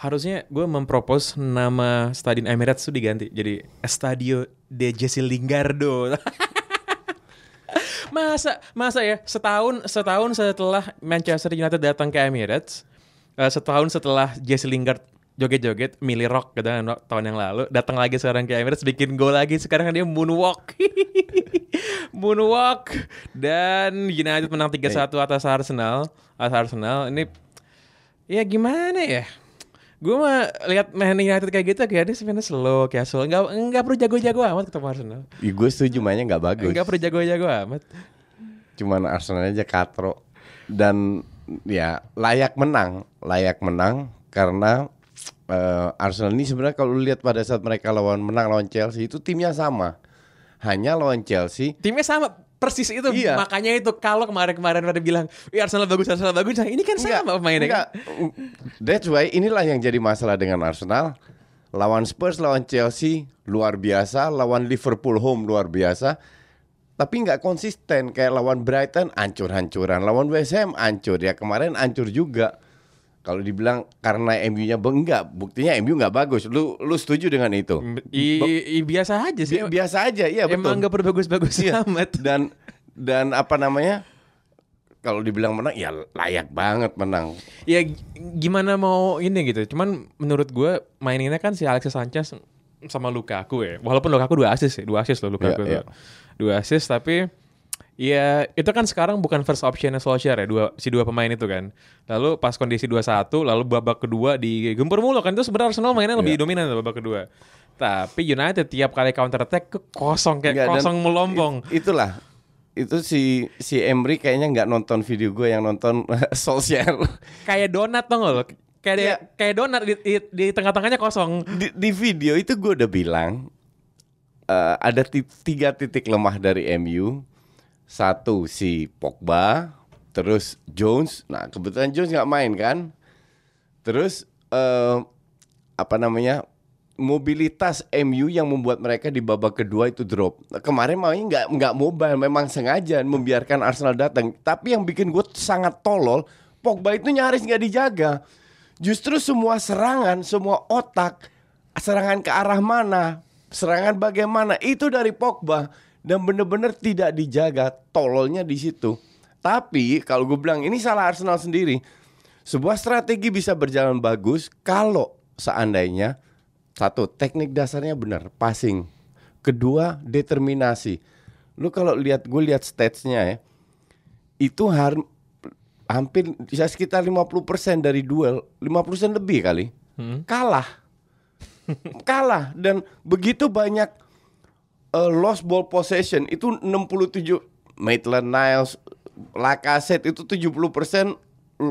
harusnya gue mempropos nama Stadion Emirates tuh diganti jadi Estadio de Jesse Linggardo. masa masa ya setahun setahun setelah Manchester United datang ke Emirates, eh, setahun setelah Jesse Lingard joget-joget Millie Rock gitu kan, Rock tahun yang lalu datang lagi sekarang ke Emirates bikin gol lagi sekarang dia moonwalk moonwalk dan United menang 3-1 atas Arsenal atas Arsenal ini Ya gimana ya? Gue mah lihat Man United kayak gitu kayaknya sebenarnya slow, casual. Enggak enggak perlu jago-jago amat ketemu Arsenal. Ya, gue setuju mainnya nggak bagus. Enggak perlu jago-jago amat. Cuman Arsenal aja katro dan ya layak menang, layak menang karena eh, Arsenal ini sebenarnya kalau lu lihat pada saat mereka lawan menang lawan Chelsea itu timnya sama. Hanya lawan Chelsea Timnya sama persis itu. Iya. Makanya itu kalau kemarin-kemarin pada bilang, "Wih, Arsenal bagus, Arsenal bagus." Nah, ini kan sama pemainnya. kan? enggak. That's why inilah yang jadi masalah dengan Arsenal. Lawan Spurs, lawan Chelsea luar biasa, lawan Liverpool home luar biasa. Tapi nggak konsisten kayak lawan Brighton ancur-hancuran, lawan West Ham ancur ya kemarin ancur juga. Kalau dibilang karena MU-nya enggak, buktinya MU nggak bagus. Lu lu setuju dengan itu? I, i- biasa aja sih. Bi- Biasa aja, iya betul. Iya. Emang enggak perlu bagus-bagus amat. Dan dan apa namanya? Kalau dibilang menang ya layak banget menang. ya g- gimana mau ini gitu. Cuman menurut gue maininnya kan si Alexis Sanchez sama Lukaku ya. Walaupun Lukaku dua assist ya, dua assist loh Lukaku. Iya, iya. Dua assist tapi ya itu kan sekarang bukan first optionnya Solskjaer ya, dua, si dua pemain itu kan. Lalu pas kondisi 2-1, lalu babak kedua digempur mulu kan. Itu sebenarnya Arsenal mainnya lebih Iya. dominan tuh babak kedua. Tapi United tiap kali counter attack ke- kosong kayak Nggak, dan kosong melompong. it- itulah itu si si Emery kayaknya nggak nonton video gue yang nonton Solskjaer Kayak donat tau nggak lo? Kayak Iya. kayak donat di, di, di tengah-tengahnya kosong. di, di video itu gue udah bilang eh, ada ti- tiga titik lemah dari MU satu si Pogba terus Jones nah kebetulan Jones nggak main kan terus eh, apa namanya mobilitas MU yang membuat mereka di babak kedua itu drop. Nah, Kemarin mainnya nggak nggak mobile, memang sengaja membiarkan Arsenal datang. Tapi yang bikin gue sangat tolol, Pogba itu nyaris nggak dijaga. Justru semua serangan, semua otak, serangan ke arah mana, serangan bagaimana itu dari Pogba dan bener-bener tidak dijaga. Tololnya di situ. Tapi kalau gue bilang ini salah Arsenal sendiri. Sebuah strategi bisa berjalan bagus kalau seandainya satu teknik dasarnya benar, passing. Kedua, determinasi. Lu kalau lihat gue lihat statsnya ya, itu har- hampir bisa sekitar 50% dari duel, 50% lebih kali. Kalah. Kalah dan begitu banyak uh, lost ball possession itu 67 Maitland Niles Lacazette itu 70%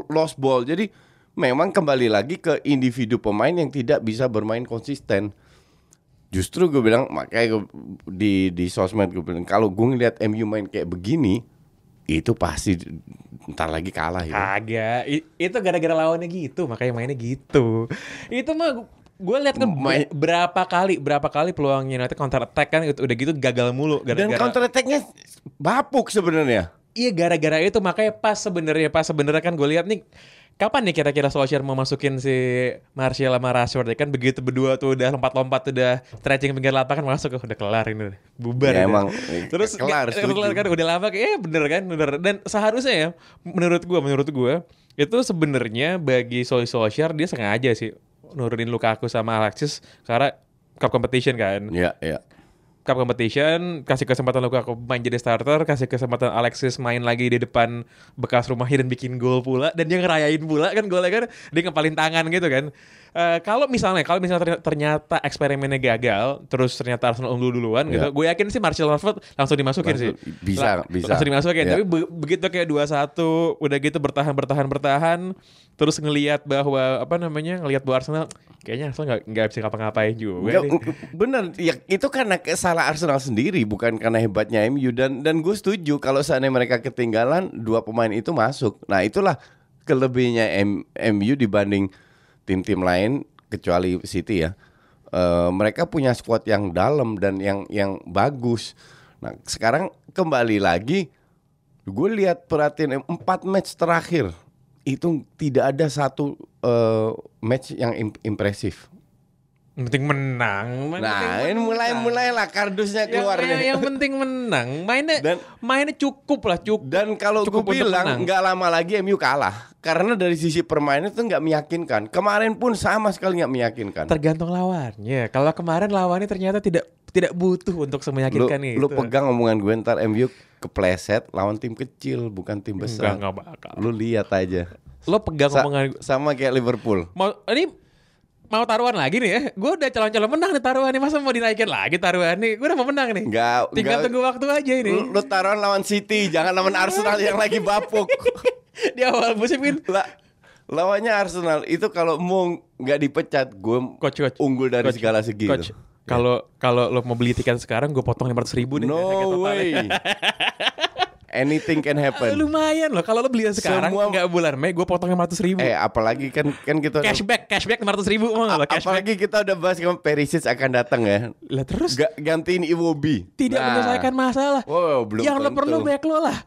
lost ball. Jadi memang kembali lagi ke individu pemain yang tidak bisa bermain konsisten. Justru gue bilang makanya gue- di di sosmed gue bilang kalau gue ngeliat MU main kayak begini itu pasti ntar lagi kalah ya. Kagak, I- itu gara-gara lawannya gitu, makanya mainnya gitu. Itu mah gue lihat kan ber- Main- berapa kali berapa kali peluangnya United counter attack kan gitu, udah gitu gagal mulu Dan gara-gara counter attack-nya bapuk sebenarnya. iya gara-gara itu makanya pas sebenarnya pas sebenarnya kan gue lihat nih kapan nih kira-kira Solskjaer mau masukin si Martial sama Rashford ya kan begitu berdua tuh udah lompat-lompat udah stretching pinggir lapangan masuk "Oh, udah kelar ini udah. bubar Ya, udah. emang, terus kelar, gitu. eh, setuju. kelar kan udah lama kayak eh, bener kan bener dan seharusnya ya menurut gua menurut gua itu sebenarnya bagi Sol Solskjaer dia sengaja sih nurunin Lukaku sama Alexis karena cup competition kan Iya, iya. Cup competition, kasih kesempatan Lukaku main jadi starter, kasih kesempatan Alexis main lagi di depan bekas rumahnya dan bikin gol pula dan dia ngerayain pula kan golnya kan dia ngepalin tangan gitu kan. Eh, kalau misalnya kalau misalnya terny- ternyata eksperimennya gagal, terus ternyata Arsenal unggul duluan gitu, Iya. gue yakin sih Marcel Rashford langsung dimasukin Langsung- sih. bisa, bisa. Langsung dimasukin. Iya. Tapi be- begitu kayak 2-1 udah gitu bertahan bertahan bertahan terus ngelihat bahwa apa namanya ngelihat bahwa Arsenal kayaknya Arsenal nggak nggak bisa ngapa-ngapain juga Nggak, nih. u- bener ya itu karena ke- salah Arsenal sendiri bukan karena hebatnya MU dan dan gue setuju kalau seandainya mereka ketinggalan dua pemain itu masuk nah itulah kelebihnya M- MU dibanding tim-tim lain kecuali City ya Eh, mereka punya squad yang dalam dan yang yang bagus nah sekarang kembali lagi gue lihat perhatiin em- empat match terakhir itu tidak ada satu eh, match yang im- impresif Yang penting menang. yang Nah, penting ini mulai menang. mulailah yang, kardusnya gitu. keluar yang, nih. yang penting menang. Mainnya Dan- mainnya cukup lah cukup. Dan kalau gue Cukup untuk menang. bilang nggak lama lagi MU kalah karena dari sisi permainan itu nggak meyakinkan. Kemarin pun sama sekali nggak meyakinkan. Tergantung lawannya. Kalau kemarin lawannya ternyata tidak tidak butuh untuk Lu, semeyakinkan itu. lu pegang omongan gue ntar MU kepleset lawan tim kecil bukan tim Enggak, besar. enggak bakal. Lu lihat aja. Lo pegang Sa- omongan gue. sama kayak Liverpool. Mau ini mau taruhan lagi nih ya. Gue udah calon-calon menang nih taruhan nih. Masa mau dinaikin lagi taruhan nih? Gue udah mau menang nih. Nggak- Tinggal nggak- tunggu waktu aja ini. Lu, lu taruhan lawan City, jangan lawan Arsenal yang lagi bapuk. Di awal musim kan La, lawannya Arsenal itu kalau mau nggak dipecat, gue coach coach unggul dari Coach, segala segi. coach. tuh. Kalau kalau lo mau beli tiket sekarang, gue potong 500 ribu nih. harga No totalnya. way. Anything can Eh, happen. lumayan loh kalau lo beli yang sekarang Semua- nggak bulan Mei gue potong 500 ribu Eh, apalagi kan kan kita udah- cashback cashback 500 ribu mau nggak lo cashback apalagi kita udah bahas kan Perisic akan datang ya. lah terus Ga- gantiin Iwobi. tidak Nah, menyelesaikan masalah Wow, belum yang lo tentu. perlu back lo lah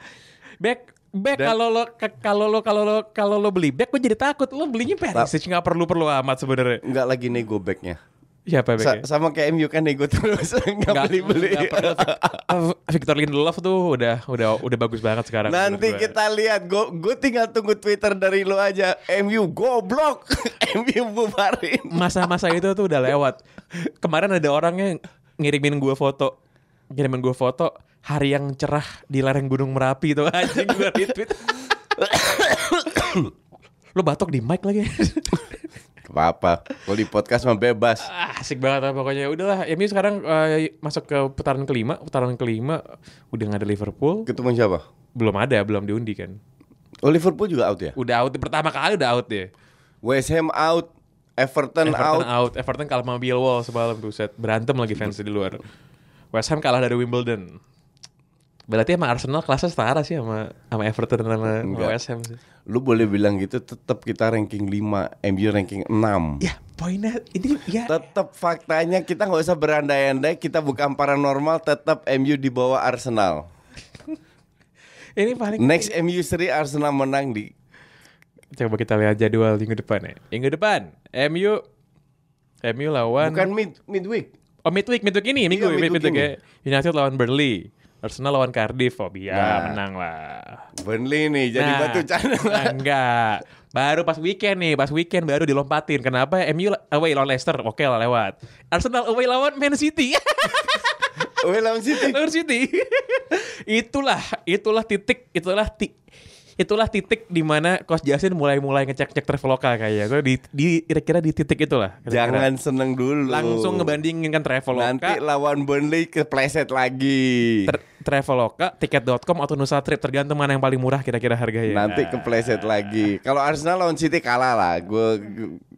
back back Dan- kalau lo ke- kalau lo kalau lo kalau lo beli back gue jadi takut lo belinya Perisic nggak perlu perlu amat sebenarnya nggak lagi nego backnya. siapa Sa- backnya sama kayak MU kan nego terus nggak Nggak- beli beli. nggak perlu. Ah, Victor Lindelof tuh udah udah udah bagus banget sekarang menurut Nanti gua. kita lihat. Gue tinggal tunggu Twitter dari lo aja. MU goblok. MU bubarin. masa-masa itu tuh udah lewat. Kemarin ada orangnya ngirimin gue foto, ngirimin gue foto hari yang cerah di lereng Gunung Merapi itu anjing gue retweet. Lu batok di mic lagi. Apa-apa. Kalau di podcast mah bebas. Ah, Asik banget lah pokoknya. Udahlah, MU sekarang eh, masuk ke putaran kelima. Putaran kelima udah nggak ada Liverpool. Ketemu siapa? Belum ada, belum diundi kan. Oh Liverpool juga out ya? Udah out pertama kali udah out deh. West Ham out, Everton, Everton out. out. Everton kalah sama Millwall semalam tuh set. Berantem lagi fans di luar. West Ham kalah dari Wimbledon. Berarti emang Arsenal kelasnya setara sih sama sama Everton dan sama, sama Enggak. West Ham sih. Lu boleh bilang gitu tetap kita ranking 5, MU ranking 6. Ya, poinnya ini ya Tetap faktanya kita nggak usah berandai-andai, kita bukan paranormal, tetap MU di bawah Arsenal. ini paling Next MU seri Arsenal menang di Coba kita lihat jadwal minggu depan ya. Minggu depan MU MU lawan bukan mid midweek. Oh midweek, midweek ini, minggu, Iya, midweek, midweek midweek ya. United lawan Burnley. Arsenal lawan Cardiff, oh biar menang lah. Burnley nih jadi Nah, batu nah, cadangan. enggak. Baru pas weekend nih, pas weekend baru dilompatin. Kenapa? MU la- away lawan Leicester, oke lah lewat. Arsenal away lawan Man City. Willem City. lawan City. itulah, itulah titik, itulah ti- itulah titik di mana Coach Jasin mulai-mulai ngecek-cek traveloka kayaknya. Gue di, di- kira-kira di titik itulah. Kira-kira. Jangan seneng dulu. langsung ngebandingin kan traveloka. Nanti lawan Burnley kepleset lagi. Tra- Traveloka, tiket.com atau Nusa Trip tergantung mana yang paling murah kira-kira harganya. Nanti kepleset lagi. Kalau Arsenal lawan City kalah lah. Gue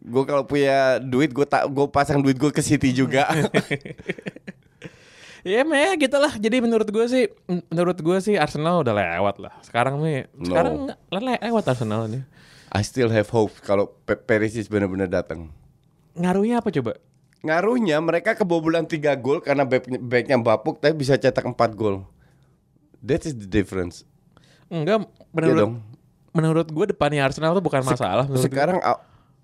gue kalau punya duit gue tak gue pasang duit gue ke City juga. Ya meh gitu lah. Jadi menurut gue sih, menurut gue sih Arsenal udah lewat lah. Sekarang nih, No. sekarang le- le- lewat Arsenal nih. I still have hope kalau Pe- Perisic benar-benar datang. Ngaruhnya apa coba? Ngaruhnya mereka kebobolan 3 gol karena back- backnya bapuk tapi bisa cetak 4 gol. That is the difference. Enggak, Iya menurut dong. menurut gue depannya Arsenal tuh bukan masalah. menurut gua. Sekarang au-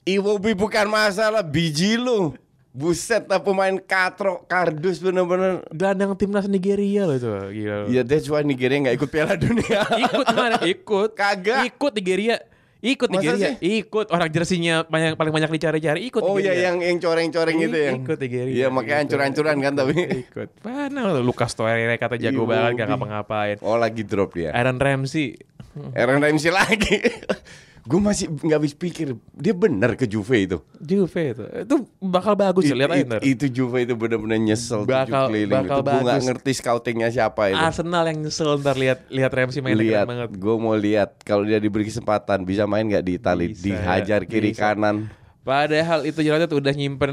Iwobi bukan masalah biji lu. Buset lah pemain katrok kardus bener-bener. gelandang timnas Nigeria loh itu, gila. Iya. Ya that's why Nigeria nggak ikut Piala Dunia. Ikut mana? Ikut. Kagak. Ikut Nigeria. Ikut Masa Nigeria, ikut orang jersinya banyak paling banyak dicari-cari ikut. Oh ya Nigeria. yang yang coreng-coreng I- itu ya. ikut Nigeria. Iya makanya Ikut. hancur-hancuran kan tapi. ikut. Mana lu, Lucas Torreira kata jago Iya, banget gak Bobby. ngapa-ngapain. Oh lagi drop dia. Aaron Ramsey Aaron Ramsey lagi. gue masih nggak habis pikir dia bener ke Juve itu. Juve itu. Itu bakal bagus ya, It- lihat aja it- ntar. Itu Juve itu bener-bener nyesel tujuh Bakal- keliling bakal itu. Gue nggak bagus. ngerti scoutingnya siapa itu. Arsenal yang nyesel ntar lihat lihat Ramsey main keren lihat, banget. gue mau lihat kalau dia diberi kesempatan bisa main nggak di Itali? Bisa, Dihajar kiri bisa. kanan. Padahal itu United udah nyimpen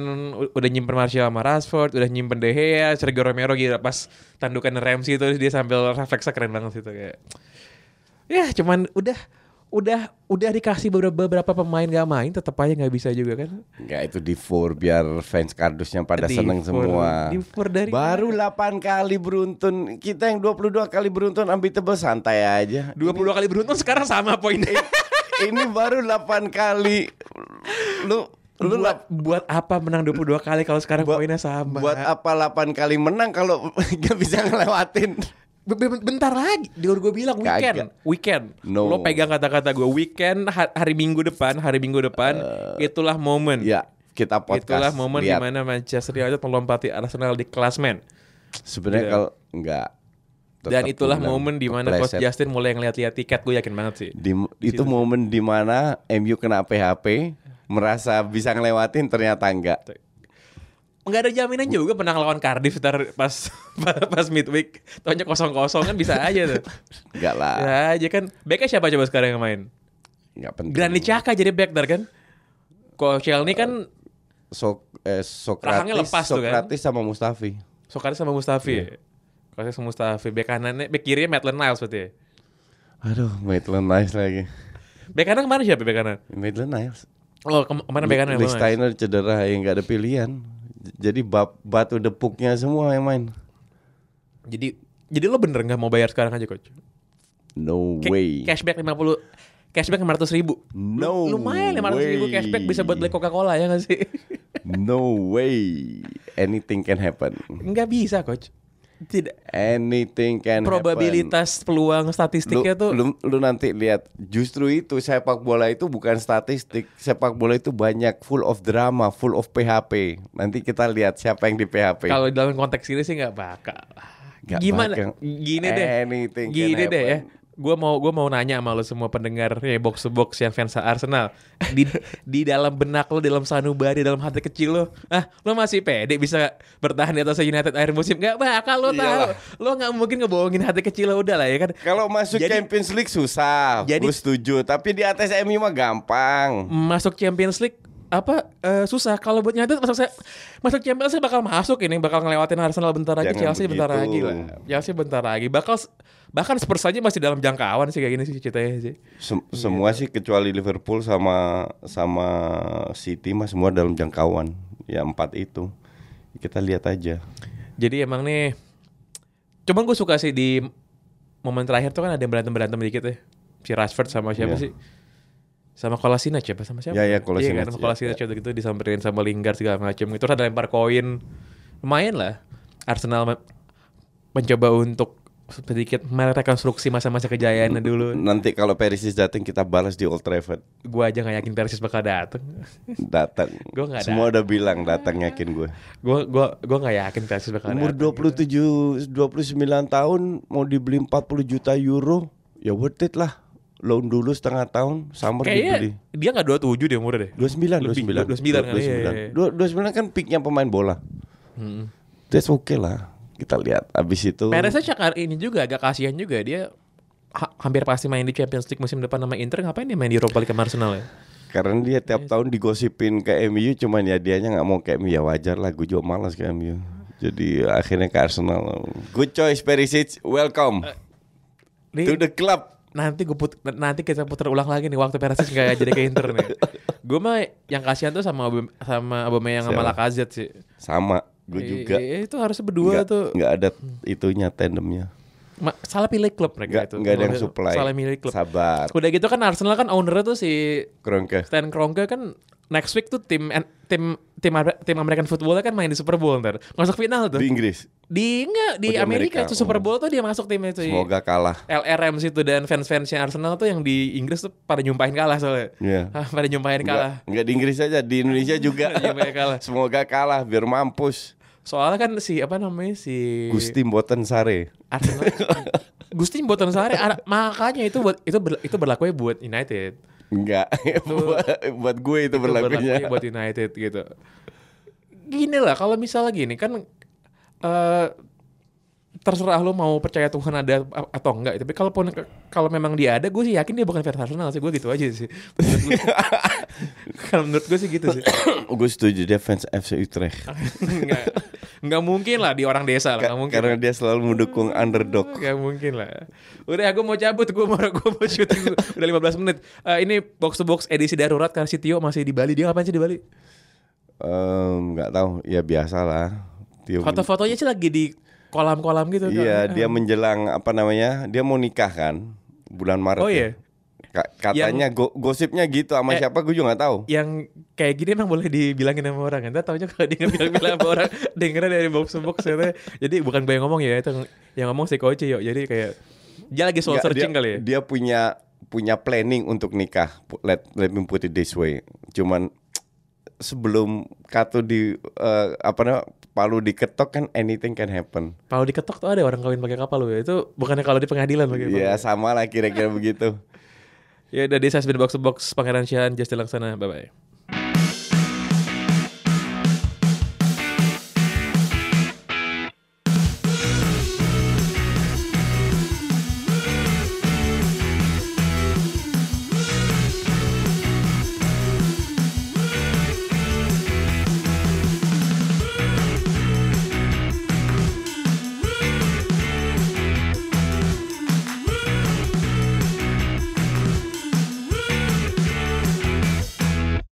udah nyimpen Martial sama Rashford, udah nyimpen De Gea, Sergio Romero gila pas tandukan Ramsey itu dia sambil refleksnya keren banget itu kayak. Ya, cuman udah udah udah dikasih beberapa, beberapa pemain gak main tetap aja nggak bisa juga kan. Nggak itu di four biar fans kardusnya pada Di seneng four- semua. di four dari Baru 8 kali beruntun. Kita yang 22 kali beruntun ambil tebel santai aja. 22 kali beruntun sekarang sama Iya. poinnya. Ini baru 8 kali. Lu lu lap- buat, buat apa menang 22 kali kalau sekarang buat- poinnya sama? Buat apa 8 kali menang kalau nggak bisa ngelewatin? Be- be- Bentar lagi, Dior gue bilang weekend, Kagak. weekend. No. Lo pegang kata-kata gue weekend ha- hari Minggu depan, hari Minggu depan itulah momen. Ya, kita Eh, podcast. itulah momen di lihat. mana Manchester United melompati Arsenal di klasmen. Sebenarnya Iya. kalau enggak Dan tetap itulah bilang momen di mana Coach kepleset. Justin mulai ngeliat-liat tiket, gue yakin banget sih. Di- itu momen di mana MU kena PHP merasa bisa ngelewatin ternyata enggak. Enggak ada jaminan juga menang lawan Cardiff ntar pas pas midweek. Taunya kosong-kosong kan bisa aja tuh. Enggak lah. ya aja kan. Backnya siapa coba sekarang yang main? Enggak penting. Granit Xhaka jadi back ntar kan? Koscielny kan So, eh, Sokratis, Rahangnya lepas tuh kan? Sokratis sama Mustafi. Sokratis sama Mustafi. ya? Iya. Sokratis sama Mustafi. Bek kanannya, bek kirinya Maitland Niles berarti. ya? Aduh, Maitland Niles lagi. Bek kanan kemana siapa bek kanan? Maitland Niles. Oh, ke- kemana bek kanan? Lee Bang? Steiner cedera ya nggak ada pilihan. J- Jadi bab, batu depuknya semua yang main. Jadi jadi lo bener nggak mau bayar sekarang aja coach? No Ca- way. Cashback 50 cashback 500 ribu. No Lumayan ya 500 ribu way. cashback bisa buat beli Coca-Cola ya nggak sih? No way. Anything can happen. Nggak bisa coach. Tidak. Anything can happen. Probabilitas peluang statistiknya lu, tuh lu, lu nanti lihat justru itu sepak bola itu bukan statistik sepak bola itu banyak full of drama full of PHP nanti kita lihat siapa yang di PHP kalau dalam konteks ini sih nggak bakal. Nggak Gimana? bakal. Gini deh. Anything can Gini deh ya. happen. Gue mau gue mau nanya sama lo semua pendengar ya box to box yang fans Arsenal di di dalam benak lo dalam sanubari dalam hati kecil lo ah lo masih pede bisa bertahan di atas United akhir musim gak bakal lo tahu Iyalah. lo nggak mungkin ngebohongin hati kecil lo udah lah ya kan kalau masuk Jadi- Champions League susah Jadi- gue setuju tapi di atas MU mah gampang masuk Champions League apa eh, susah kalau buat United masuk saya masuk Champions League bakal masuk ini bakal ngelewatin Arsenal bentar lagi Jangan Chelsea bentar begitu. lagi lah Chelsea bentar lagi bakal bahkan Spurs aja masih dalam jangkauan sih kayak gini sih ceritanya sih Sem- Iya. semua sih kecuali Liverpool sama sama City mah semua dalam jangkauan ya empat itu kita lihat aja Jadi emang nih Cuman gue suka sih di Momen terakhir tuh kan ada yang berantem-berantem dikit ya Si Rashford sama siapa Iya. sih Sama Kolasinac ya apa sama siapa? Ya, ya, Iya Kolasinac, kan, sama Kolasinac waktu gitu disamperin sama Lingard segala macem Itu ada lempar koin Lumayan lah Arsenal me- mencoba untuk sedikit merekonstruksi masa-masa kejayaannya dulu nanti kalau Perisic datang kita balas di Old Trafford Gue aja gak yakin Persis bakal dateng datang. Gua nggak Semua udah bilang datang yakin gue. Gue gua, gua gak yakin Persis bakal Umur dateng 27 29 tahun mau dibeli 40 juta euro, ya worth it lah. Loan dulu setengah tahun, summer dibeli. Kayaknya dia gak 27 deh umurnya deh 29, Lebih, 29, 29. kan, iya, iya, iya. 29. 29 kan peaknya pemain bola. That's okay lah. Kita lihat abis itu. Pereznya cakar ini juga agak kasihan juga dia ha- hampir pasti main di Champions League musim depan sama Inter ngapain dia main di Europa League sama Arsenal ya? Karena dia tiap tahun digosipin ke MU cuman ya dianya nggak mau ke MU ya wajar lah gue juga malas ke MU. Jadi akhirnya ke Arsenal. Good choice Perisic, welcome Ini to the club. nanti gue put nanti kita putar ulang lagi nih waktu Perisic nggak jadi ke Inter nih. Gue mah yang kasihan tuh sama Aubame- sama Aubameyang sama Siapa? Lacazette sih. Sama, Eh, gue juga. I- i- itu harusnya berdua nggak, tuh. nggak ada itunya tandemnya. Ma- salah pilih klub mereka Nggak, Iya, itu. nggak ada yang supply. Salah milih klub. Sabar, Udah gitu kan Arsenal kan ownernya tuh si Kronke. Stan Kroenke kan next week tuh tim tim tim Amer- tim American football kan main di Super Bowl ntar. Masuk final tuh. Di, di Inggris. enggak di, Oh, di Amerika, Amerika. tuh Super Bowl tuh dia masuk timnya tuh. Semoga kalah. LRM situ dan fans-fansnya Arsenal tuh yang di Inggris tuh pada nyumpahin kalah soalnya. Iya. Ah, pada nyumpahin Enggak, kalah. Iya, enggak di Inggris aja, di Indonesia juga. Nyumpahin kalah. Semoga kalah biar mampus. Soalnya kan si apa namanya si Gusti Mboten Sare. Arsenal. Gusti Mboten Sare ara- makanya itu buat itu ber- itu berlakunya buat United. Enggak. buat, buat gue itu, Itu berlakunya. buat United gitu. Gini lah kalau misalnya gini kan eh terserah lo mau percaya Tuhan ada a- atau enggak tapi kalaupun kalau memang dia ada gue sih yakin dia bukan fans Arsenal sih gue gitu aja sih Menurut gua- kalau menurut gue sih gitu sih gue setuju dia fans FC Utrecht. nggak nggak mungkin lah di orang desa lah nggak mungkin Karena dia selalu mendukung underdog. Gak mungkin lah. Udah aku mau cabut, gue mau gue mau syuting udah 15 menit. Eh, ini box to box edisi darurat karena si Tio masih di Bali. Dia ngapain sih di Bali? Iya, Em, nggak tahu ya biasalah Tio men- Foto-fotonya sih lagi di kolam-kolam gitu. iya kan? dia menjelang apa namanya dia mau nikah kan bulan Maret Oh ya. iya. Ka- katanya go- gosipnya gitu Eh. sama siapa gue juga nggak tahu Yang kayak gini emang boleh dibilangin sama orang. kan? Entah taunya kalau dia bilang-bilang sama orang dengernya dari box to box katanya. Jadi bukan gue yang ngomong ya, itu yang ngomong si Koce yuk. Jadi kayak dia lagi soul Nggak, searching dia, kali ya. dia punya punya planning untuk nikah Pu- let let me put it this way cuman sebelum Kato di eh, apa namanya Palu diketok kan anything can happen Kalau diketok tuh ada orang kawin pakai kapal loh. ya. Itu bukannya kalau di pengadilan pakai kapal. ya sama lah kira-kira begitu Ya udah, this has been box to box Pangeran Syahan, Justin Laksana. Bye-bye.